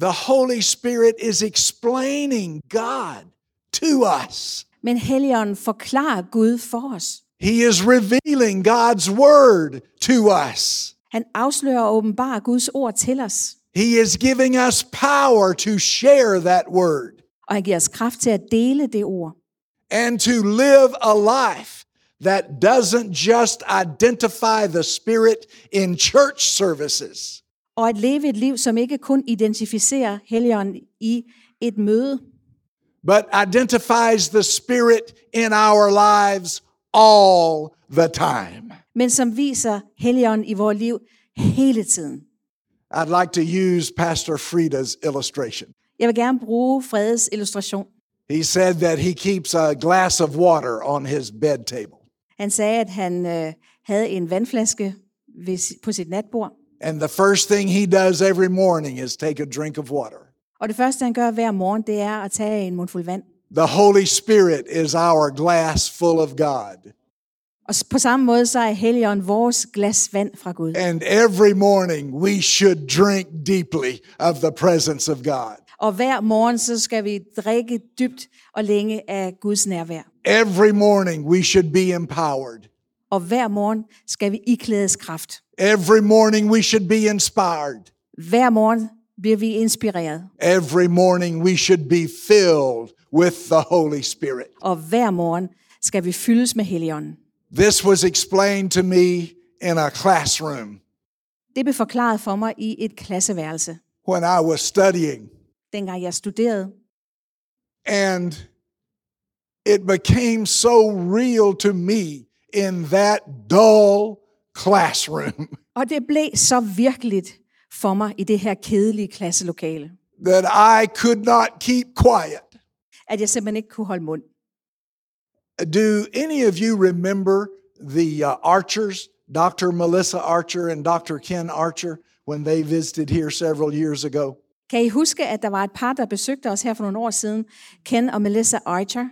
[SPEAKER 1] the Holy Spirit is explaining God to us.
[SPEAKER 2] Men Helligånden forklarer Gud for os.
[SPEAKER 1] He is revealing God's word to us.
[SPEAKER 2] Han afslører og åbenbarer Guds ord til os,
[SPEAKER 1] He is giving us power to share that word
[SPEAKER 2] og han giver os kraft til at dele det ord,
[SPEAKER 1] and to live a life that doesn't just identify the Spirit in church services,
[SPEAKER 2] og at leve et liv, som ikke kun identificerer Helligånden i et møde,
[SPEAKER 1] but identifies the Spirit in our lives all the time.
[SPEAKER 2] men som viser Helligånden i vores liv hele tiden.
[SPEAKER 1] I'd like to use Pastor Frida's illustration.
[SPEAKER 2] Jeg vil gerne bruge Fredes illustration.
[SPEAKER 1] He said that he keeps a glass of water on his bed table.
[SPEAKER 2] Han sagde, at han øh, havde en vandflaske ved, si- på sit natbord,
[SPEAKER 1] And the first thing he does every morning is take a drink of water.
[SPEAKER 2] og det første, han gør hver morgen, det er at tage en mundfuld vand.
[SPEAKER 1] The Holy Spirit is our glass full of God.
[SPEAKER 2] Og s- på samme måde, så er Helligånden vores glas vand fra Gud.
[SPEAKER 1] And every morning we should drink deeply of the presence of God.
[SPEAKER 2] Og hver morgen, så skal vi drikke dybt og længe af Guds nærvær.
[SPEAKER 1] Every morning we should be empowered.
[SPEAKER 2] Og hver morgen skal vi iklædes kraft.
[SPEAKER 1] Every morning we should be inspired.
[SPEAKER 2] Hver morgen bliver vi inspireret.
[SPEAKER 1] Every morning we should be filled with the Holy Spirit.
[SPEAKER 2] Og hver morgen skal vi fyldes med Helligånden.
[SPEAKER 1] This was explained to me in a classroom
[SPEAKER 2] Det blev forklaret for mig i et klasseværelse,
[SPEAKER 1] when I was studying.
[SPEAKER 2] dengang jeg studerede.
[SPEAKER 1] And it became so real to me in that dull classroom
[SPEAKER 2] Og det blev så virkeligt for mig i det her kedelige klasselokale,
[SPEAKER 1] that I could not keep quiet.
[SPEAKER 2] at jeg simpelthen ikke kunne holde mund.
[SPEAKER 1] Do any of you remember the uh, Archers, Dr. Melissa Archer and Dr. Ken Archer, when they visited here several years ago?
[SPEAKER 2] Kan I huske, at der var et par, der besøgte os her for nogle år siden? Ken og Melissa Archer.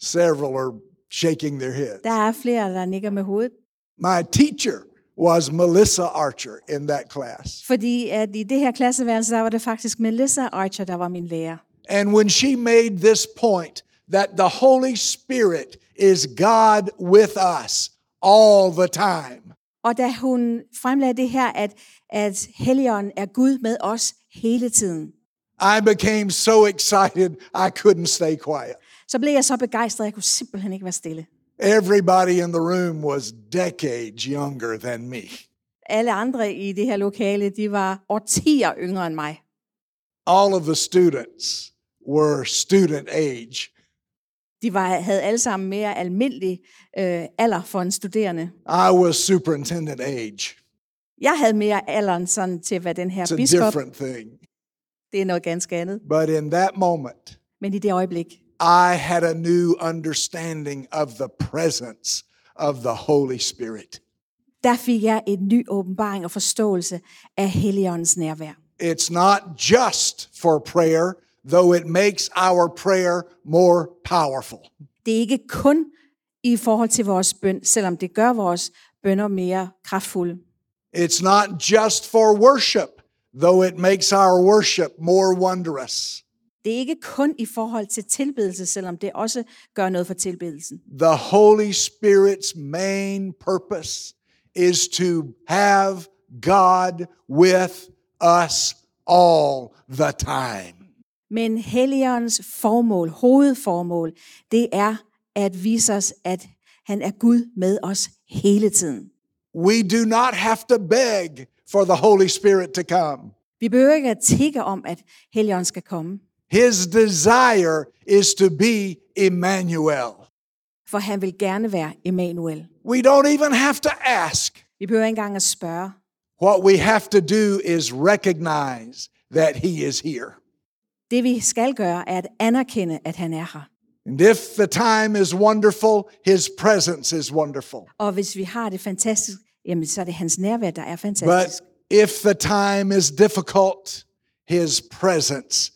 [SPEAKER 1] Several are shaking their heads.
[SPEAKER 2] Der er flere, der nikker med hovedet.
[SPEAKER 1] My teacher was Melissa Archer in that class.
[SPEAKER 2] Fordi at i det her klasseværelse, der var det faktisk Melissa Archer, der var min lærer.
[SPEAKER 1] And when she made this point that the Holy Spirit is God with us all the time,
[SPEAKER 2] Og da hun fremlagde det her, at, at Helligånden er Gud med os hele tiden,
[SPEAKER 1] I became so excited I couldn't stay quiet.
[SPEAKER 2] så blev jeg så begejstret, at jeg kunne simpelthen ikke være stille.
[SPEAKER 1] Everybody in the room was decades younger than me.
[SPEAKER 2] Alle andre i det her lokale, de var årtier yngre end mig.
[SPEAKER 1] All of the students were student age.
[SPEAKER 2] De var, havde alle sammen mere almindelig øh, alder for en studerende.
[SPEAKER 1] I was superintendent age.
[SPEAKER 2] Jeg havde mere alderen sådan til at være den her
[SPEAKER 1] It's a
[SPEAKER 2] biskop.
[SPEAKER 1] different thing.
[SPEAKER 2] Det er noget ganske andet.
[SPEAKER 1] But in that moment,
[SPEAKER 2] Men i det øjeblik,
[SPEAKER 1] I had a new understanding of the presence of the Holy Spirit.
[SPEAKER 2] der fik jeg en ny åbenbaring og forståelse af Helligåndens nærvær.
[SPEAKER 1] It's not just for prayer, though it makes our prayer more powerful.
[SPEAKER 2] Det er ikke kun i forhold til vores bøn, selvom det gør vores bønder mere kraftfulde.
[SPEAKER 1] It's not just for worship, though it makes our worship more wondrous.
[SPEAKER 2] Det er ikke kun i forhold til tilbedelse, selvom det også gør noget for tilbedelsen.
[SPEAKER 1] The Holy Spirit's main purpose is to have God with us all the time.
[SPEAKER 2] Men Helligåndens formål, hovedformål, det er at vise os, at han er Gud med os hele tiden.
[SPEAKER 1] We do not have to beg for the Holy Spirit to come.
[SPEAKER 2] Vi behøver ikke at tikke om, at Helligånden skal komme,
[SPEAKER 1] His desire is to be Emmanuel.
[SPEAKER 2] for han vil gerne være Emmanuel.
[SPEAKER 1] We don't even have to ask.
[SPEAKER 2] Vi behøver ikke engang at spørge.
[SPEAKER 1] What we have to do is recognize that He is here.
[SPEAKER 2] Det vi skal gøre, er at anerkende, at han er her.
[SPEAKER 1] And if the time is wonderful, His presence is wonderful.
[SPEAKER 2] Og hvis vi har det fantastisk, jamen så er det hans nærvær, der er
[SPEAKER 1] But
[SPEAKER 2] fantastisk.
[SPEAKER 1] if the time is difficult, His presence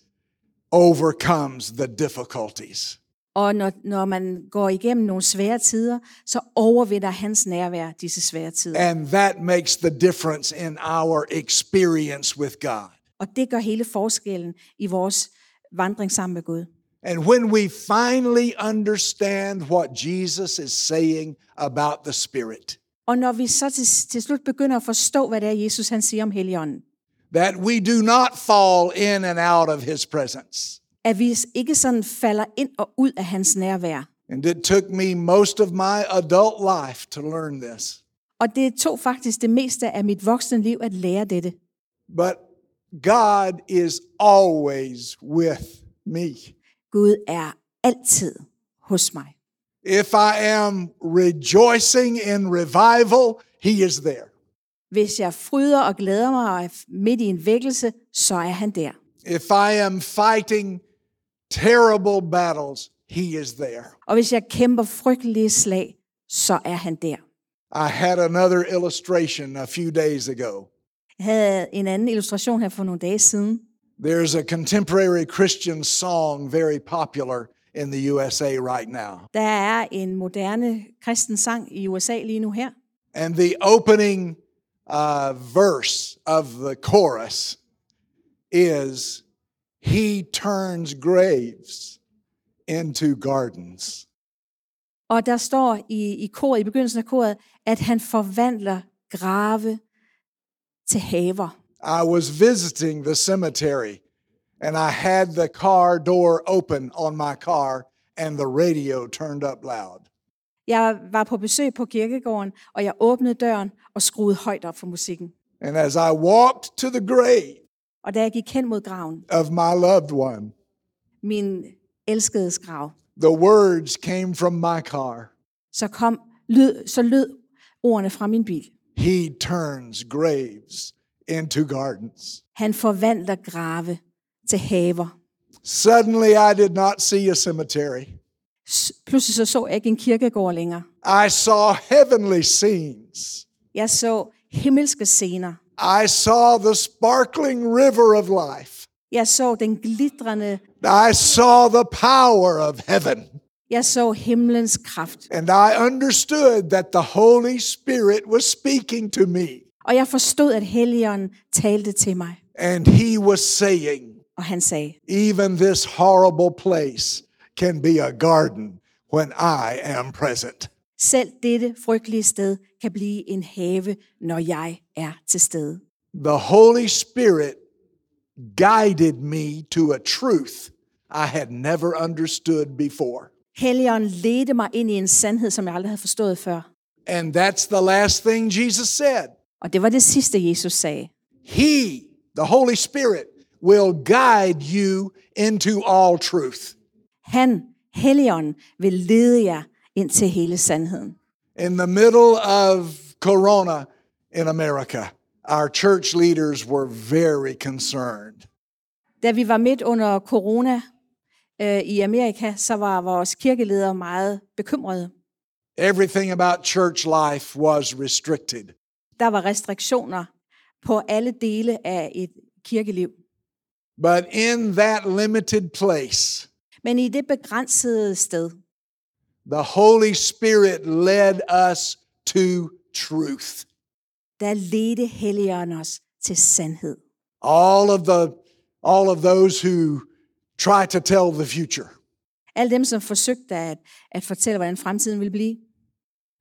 [SPEAKER 1] overcomes the difficulties.
[SPEAKER 2] Og når, når man går igennem nogle svære tider, så overvinder hans nærvær disse svære tider.
[SPEAKER 1] And that makes the difference in our experience with God.
[SPEAKER 2] Og det gør hele forskellen i vores vandring sammen med Gud.
[SPEAKER 1] And when we finally understand what Jesus is saying about the Spirit,
[SPEAKER 2] Og når vi så til, til slut begynder at forstå, hvad det er, Jesus han siger om Helligånden,
[SPEAKER 1] that we do not fall in and out of His presence.
[SPEAKER 2] at vi ikke sådan falder ind og ud af hans nærvær.
[SPEAKER 1] And it took me most of my adult life to learn this.
[SPEAKER 2] Og det tog faktisk det meste af mit voksne liv at lære dette.
[SPEAKER 1] But God is always with me.
[SPEAKER 2] Gud er altid hos mig.
[SPEAKER 1] If I am rejoicing in revival, He is there.
[SPEAKER 2] Hvis jeg fryder og glæder mig og er midt i en vækkelse, så er han der.
[SPEAKER 1] If I am fighting terrible battles, He is there.
[SPEAKER 2] Og hvis jeg kæmper frygtelige slag, så er han der.
[SPEAKER 1] I had another illustration a few days ago.
[SPEAKER 2] Jeg havde en anden illustration her for nogle dage siden.
[SPEAKER 1] There's a contemporary Christian song very popular in the USA right now.
[SPEAKER 2] Der er en moderne kristen sang i USA lige nu her.
[SPEAKER 1] And the opening uh, verse of the chorus is He turns graves into gardens.
[SPEAKER 2] Og der står i, i koret, i begyndelsen af koret, at han forvandler grave til haver.
[SPEAKER 1] I was visiting the cemetery and I had the car door open on my car and the radio turned up loud.
[SPEAKER 2] Jeg var på besøg på kirkegården, og jeg åbnede døren og skruede højt op for musikken.
[SPEAKER 1] And as I walked to the grave
[SPEAKER 2] Og da jeg gik hen mod graven,
[SPEAKER 1] of my loved one,
[SPEAKER 2] min elskedes grav,
[SPEAKER 1] the words came from my car
[SPEAKER 2] så, kom, lyd, så lød ordene fra min bil.
[SPEAKER 1] He turns graves into gardens.
[SPEAKER 2] Han forvandler grave til haver.
[SPEAKER 1] Suddenly, I did not see a cemetery.
[SPEAKER 2] S- Pludselig så, så jeg ikke en kirkegård længere.
[SPEAKER 1] I saw heavenly scenes.
[SPEAKER 2] Jeg så himmelske scener.
[SPEAKER 1] I saw the sparkling river of life.
[SPEAKER 2] Jeg så den glitrende,
[SPEAKER 1] I saw the power of heaven.
[SPEAKER 2] jeg så himlens kraft.
[SPEAKER 1] And I understood that the Holy Spirit was speaking to me.
[SPEAKER 2] Og jeg forstod, at Helligånden talte til mig,
[SPEAKER 1] And He was saying,
[SPEAKER 2] og han sagde,
[SPEAKER 1] Even this horrible place can be a garden when I am present.
[SPEAKER 2] selv dette frygtelige sted kan blive en have, når jeg er til stede.
[SPEAKER 1] The Holy Spirit guided me to a truth I had never understood before.
[SPEAKER 2] Helligånden ledte mig ind i en sandhed, som jeg aldrig havde forstået før.
[SPEAKER 1] And that's the last thing Jesus said.
[SPEAKER 2] Og det var det sidste, Jesus sagde.
[SPEAKER 1] He, the Holy Spirit, will guide you into all truth.
[SPEAKER 2] Han, Helligånden, vil lede jer ind til hele sandheden.
[SPEAKER 1] In the middle of Corona in America, our church leaders were very concerned.
[SPEAKER 2] Da vi var midt under corona øh, i Amerika, så var vores kirkeledere meget bekymrede.
[SPEAKER 1] Everything about church life was restricted.
[SPEAKER 2] Der var restriktioner på alle dele af et kirkeliv.
[SPEAKER 1] But in that limited place,
[SPEAKER 2] Men i det begrænsede sted,
[SPEAKER 1] The Holy Spirit led us to truth.
[SPEAKER 2] der ledte Helligånden os til sandhed.
[SPEAKER 1] All of the all of those who try to tell the future
[SPEAKER 2] Alle dem, som forsøgte at, at fortælle, hvordan fremtiden ville blive,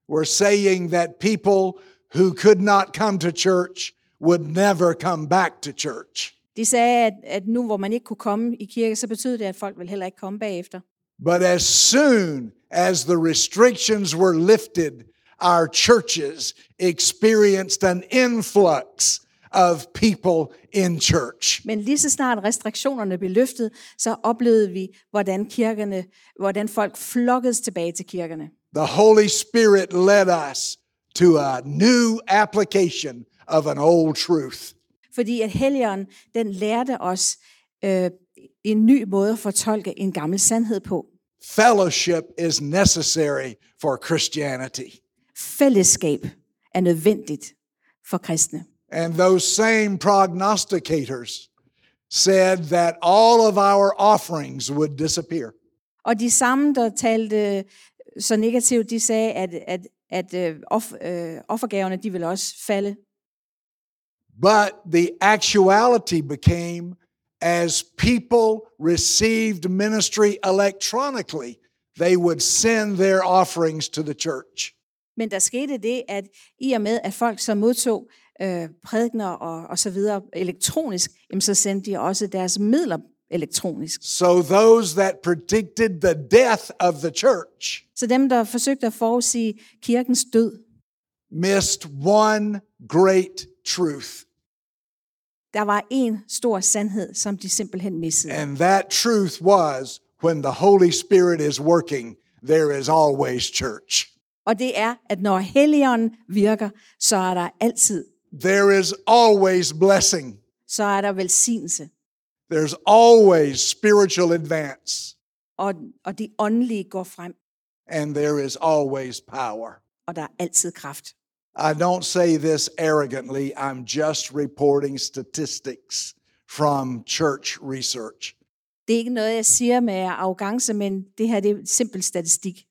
[SPEAKER 1] were saying that people who could not come to church would never come back to church.
[SPEAKER 2] de sagde, at, at nu hvor man ikke kunne komme i kirke, så betød det, at folk ville heller ikke komme bagefter.
[SPEAKER 1] But as soon as the restrictions were lifted, our churches experienced an influx of people in church.
[SPEAKER 2] Men lige så snart restriktionerne blev løftet, så oplevede vi, hvordan kirkerne, hvordan folk flokkedes tilbage til kirkerne.
[SPEAKER 1] The Holy Spirit led us to a new application of an old truth.
[SPEAKER 2] Fordi at helligånden, den lærte os øh, en ny måde at fortolke en gammel sandhed på.
[SPEAKER 1] Fellowship is necessary for Christianity.
[SPEAKER 2] Fællesskab er nødvendigt for kristne.
[SPEAKER 1] And those same prognosticators said that all of our offerings would disappear.
[SPEAKER 2] Og de samme, der talte øh, så negativt, de sagde, at, at, at øh, off, øh, offergaverne, de ville også falde.
[SPEAKER 1] But the actuality became as people received ministry electronically, they would send their offerings to the church.
[SPEAKER 2] Men der skete det, at i og med, at folk så modtog øh, prædikner og, og så videre elektronisk, jamen så sendte de også deres midler elektronisk.
[SPEAKER 1] So those that predicted the death of the church
[SPEAKER 2] Så dem, der forsøgte at forudsige kirkens død,
[SPEAKER 1] missed one great truth,
[SPEAKER 2] der var en stor sandhed, som de simpelthen missede.
[SPEAKER 1] and that truth was when the Holy Spirit is working, there is always church.
[SPEAKER 2] Og det er, at når helligånden virker, så er der altid,
[SPEAKER 1] There is always blessing.
[SPEAKER 2] så er der velsignelse.
[SPEAKER 1] There's always spiritual advance.
[SPEAKER 2] Og, og det åndelige går frem,
[SPEAKER 1] and there is always power.
[SPEAKER 2] og der er altid kraft.
[SPEAKER 1] I don't say this arrogantly, I'm just reporting statistics from church research.
[SPEAKER 2] Det er ikke noget, jeg siger med arrogance, men det her det er simpel statistik.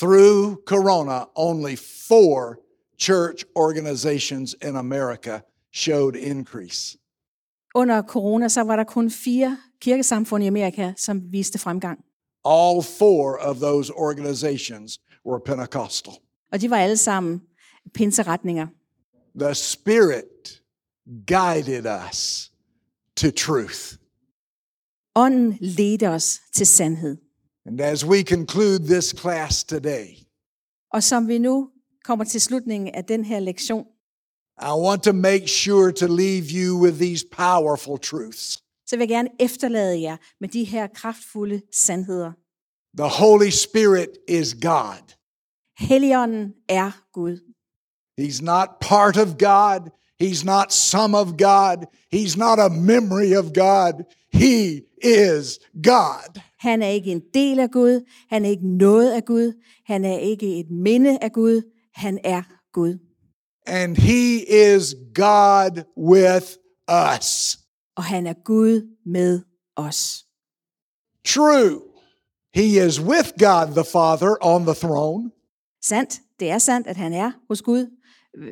[SPEAKER 1] Through Corona, only four church organizations in America showed increase.
[SPEAKER 2] Under corona, så var der kun fire kirkesamfund i Amerika, som viste fremgang.
[SPEAKER 1] All four of those organizations were Pentecostal.
[SPEAKER 2] Og de var alle sammen pinseretninger.
[SPEAKER 1] The Spirit guided us to truth.
[SPEAKER 2] Ånden ledte os til sandhed.
[SPEAKER 1] And as we conclude this class today,
[SPEAKER 2] Og som vi nu kommer til slutningen af den her lektion,
[SPEAKER 1] I want to make sure to leave you with these powerful truths.
[SPEAKER 2] så vil jeg gerne efterlade jer med de her kraftfulde sandheder.
[SPEAKER 1] The Holy Spirit is God.
[SPEAKER 2] Helligånden er Gud.
[SPEAKER 1] He's not part of God. He's not some of God. He's not a memory of God. He is God.
[SPEAKER 2] Han er ikke en del af Gud. Han er ikke noget af Gud. Han er ikke et minde af Gud. Han er Gud.
[SPEAKER 1] And He is God with us.
[SPEAKER 2] Og han er Gud med os.
[SPEAKER 1] True. He is with God the Father on the throne,
[SPEAKER 2] Sandt. Det er sandt, at han er hos Gud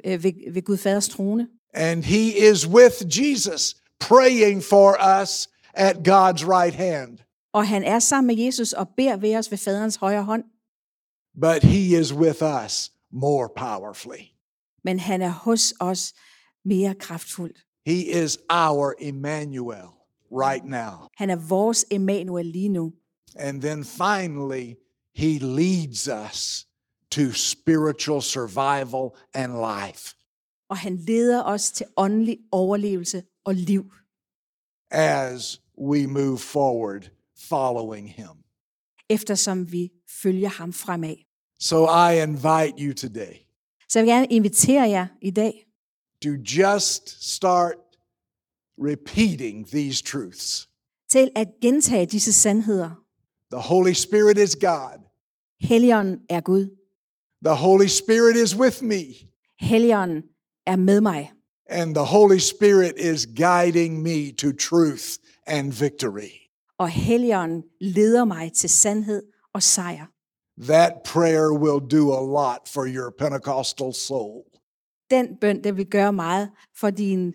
[SPEAKER 2] øh, ved, ved Gud Faders trone.
[SPEAKER 1] and He is with Jesus praying for us at God's right hand.
[SPEAKER 2] Og han er sammen med Jesus og beder ved os ved Faderens højre hånd.
[SPEAKER 1] but he is with us more powerfully.
[SPEAKER 2] Men han er hos os mere kraftfuldt.
[SPEAKER 1] He is our Emmanuel right now.
[SPEAKER 2] Han er vores Emmanuel lige nu.
[SPEAKER 1] And then finally, he leads us to spiritual survival and life
[SPEAKER 2] Og han leder os til åndelig overlevelse og liv,
[SPEAKER 1] as we move forward following him.
[SPEAKER 2] eftersom vi følger ham fremad.
[SPEAKER 1] So I invite you today
[SPEAKER 2] Så jeg vil gerne invitere jer i dag
[SPEAKER 1] to just start repeating these truths.
[SPEAKER 2] til at gentage disse sandheder.
[SPEAKER 1] The Holy Spirit is God.
[SPEAKER 2] Helligånden er Gud.
[SPEAKER 1] The Holy Spirit is with me.
[SPEAKER 2] Helligånden er med mig.
[SPEAKER 1] And the Holy Spirit is guiding me to truth and victory.
[SPEAKER 2] Og Helligånden leder mig til sandhed og sejr.
[SPEAKER 1] That prayer will do a lot for your Pentecostal soul.
[SPEAKER 2] Den bøn, den vil gøre meget for din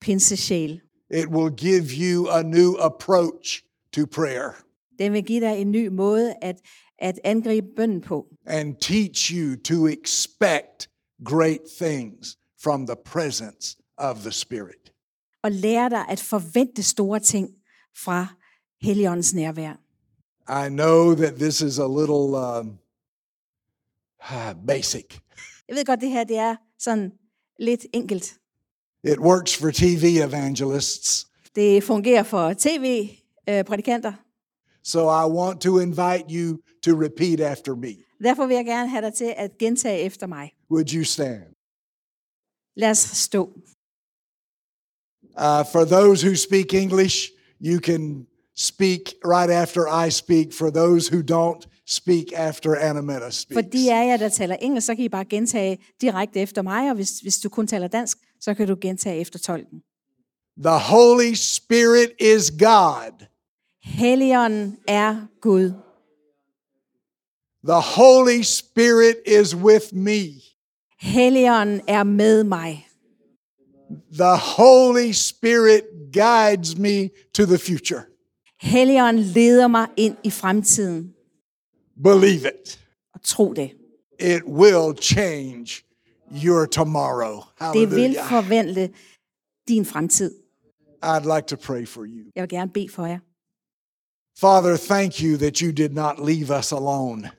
[SPEAKER 2] pinsesjæl.
[SPEAKER 1] It will give you a new approach to prayer
[SPEAKER 2] Den vil give dig en ny måde at, at angribe bønden på.
[SPEAKER 1] and teach you to expect great things from the presence of the Spirit.
[SPEAKER 2] Og lære dig at forvente store ting fra Helligåndens nærvær.
[SPEAKER 1] I know that this is a little um, basic.
[SPEAKER 2] Jeg ved godt, det her det er sådan lidt enkelt.
[SPEAKER 1] It works for TV evangelists.
[SPEAKER 2] Det fungerer for øh, tv-prædikanter.
[SPEAKER 1] So I want to invite you to repeat after me.
[SPEAKER 2] Derfor vil jeg gerne have dig til at gentage efter mig.
[SPEAKER 1] Would you stand?
[SPEAKER 2] Lad os stå.
[SPEAKER 1] Uh, for those who speak English, you can speak right after I speak. For those who don't, speak after Anameta
[SPEAKER 2] For
[SPEAKER 1] speaks.
[SPEAKER 2] de af jer, der taler engelsk, så kan I bare gentage direkte efter mig, og hvis, hvis du kun taler dansk, så kan du gentage efter tolken.
[SPEAKER 1] The Holy Spirit is God.
[SPEAKER 2] Helligånden er Gud.
[SPEAKER 1] The Holy Spirit is with me.
[SPEAKER 2] Helligånden er med mig.
[SPEAKER 1] The Holy Spirit guides me to the future.
[SPEAKER 2] Helligånden leder mig ind i fremtiden.
[SPEAKER 1] Believe it.
[SPEAKER 2] Og tro det.
[SPEAKER 1] It will change your tomorrow.
[SPEAKER 2] Det vil
[SPEAKER 1] Hallelujah.
[SPEAKER 2] forvandle din fremtid.
[SPEAKER 1] I'd like to pray for you.
[SPEAKER 2] Jeg vil gerne bede for jer.
[SPEAKER 1] Father, thank you that you did not leave us alone,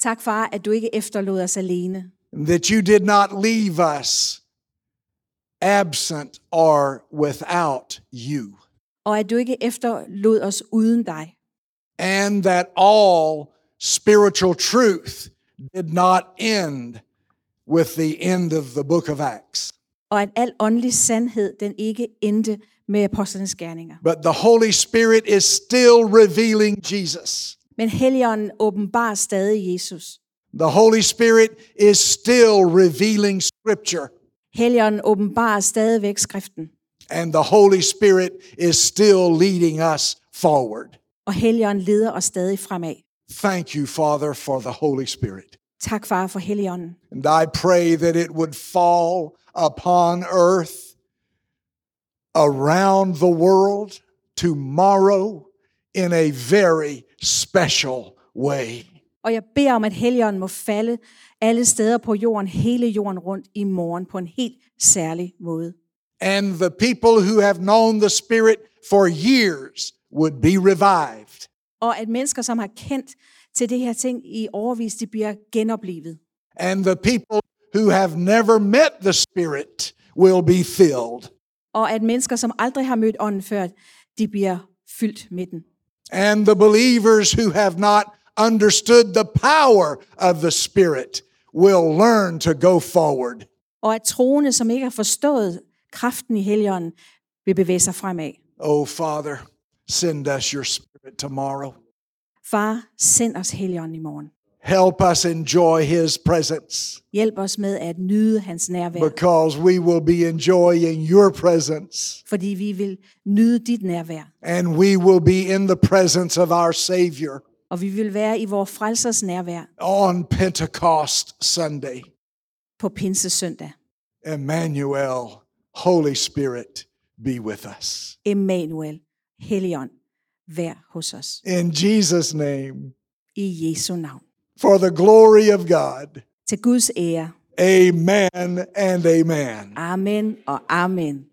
[SPEAKER 2] Tak, far, at du ikke efterlod os alene.
[SPEAKER 1] that you did not leave us absent or without you,
[SPEAKER 2] Og at du ikke efterlod os uden dig.
[SPEAKER 1] and that all spiritual truth did not end with the end of the book of Acts.
[SPEAKER 2] Og at al åndelig sandhed, den ikke endte med apostlenes gerninger.
[SPEAKER 1] But the Holy Spirit is still revealing Jesus.
[SPEAKER 2] Men Helligånden åbenbarer stadig Jesus.
[SPEAKER 1] The Holy Spirit is still revealing Scripture.
[SPEAKER 2] Helligånden åbenbarer stadigvæk skriften.
[SPEAKER 1] And the Holy Spirit is still leading us forward.
[SPEAKER 2] Og Helligånden leder os stadig fremad.
[SPEAKER 1] Thank you, Father, for the Holy Spirit.
[SPEAKER 2] Tak, far, for Helligånden.
[SPEAKER 1] And I pray that it would fall upon earth, around the world, tomorrow in a very special way.
[SPEAKER 2] Og jeg beder om, at Helligånden må falde alle steder på jorden, hele jorden rundt i morgen på en helt særlig måde.
[SPEAKER 1] And the people who have known the Spirit for years would be revived.
[SPEAKER 2] Og at mennesker, som har kendt til det her ting i overvis, de bliver genoplivet.
[SPEAKER 1] And the people who have never met the Spirit will be filled.
[SPEAKER 2] Og at mennesker, som aldrig har mødt ånden før, de bliver fyldt med den.
[SPEAKER 1] And the believers who have not understood the power of the Spirit will learn to go forward.
[SPEAKER 2] Og at troende, som ikke har forstået kraften i Helligånden, vil bevæge sig fremad.
[SPEAKER 1] Oh, Father, send us your Spirit tomorrow.
[SPEAKER 2] Far, send os Helligånden i morgen.
[SPEAKER 1] Help us enjoy His presence
[SPEAKER 2] Hjælp os med at nyde hans nærvær,
[SPEAKER 1] because we will be enjoying your presence
[SPEAKER 2] fordi vi vil nyde dit nærvær,
[SPEAKER 1] and we will be in the presence of our Savior
[SPEAKER 2] og vi vil være i vores frelsers nærvær
[SPEAKER 1] on Pentecost Sunday.
[SPEAKER 2] på Pinsesøndag.
[SPEAKER 1] Emmanuel, Holy Spirit, be with us.
[SPEAKER 2] Emmanuel, Helligånd, vær hos os.
[SPEAKER 1] In Jesus' name,
[SPEAKER 2] I Jesu navn.
[SPEAKER 1] for the glory of God.
[SPEAKER 2] Til Guds ære.
[SPEAKER 1] Amen and amen.
[SPEAKER 2] Amen og amen.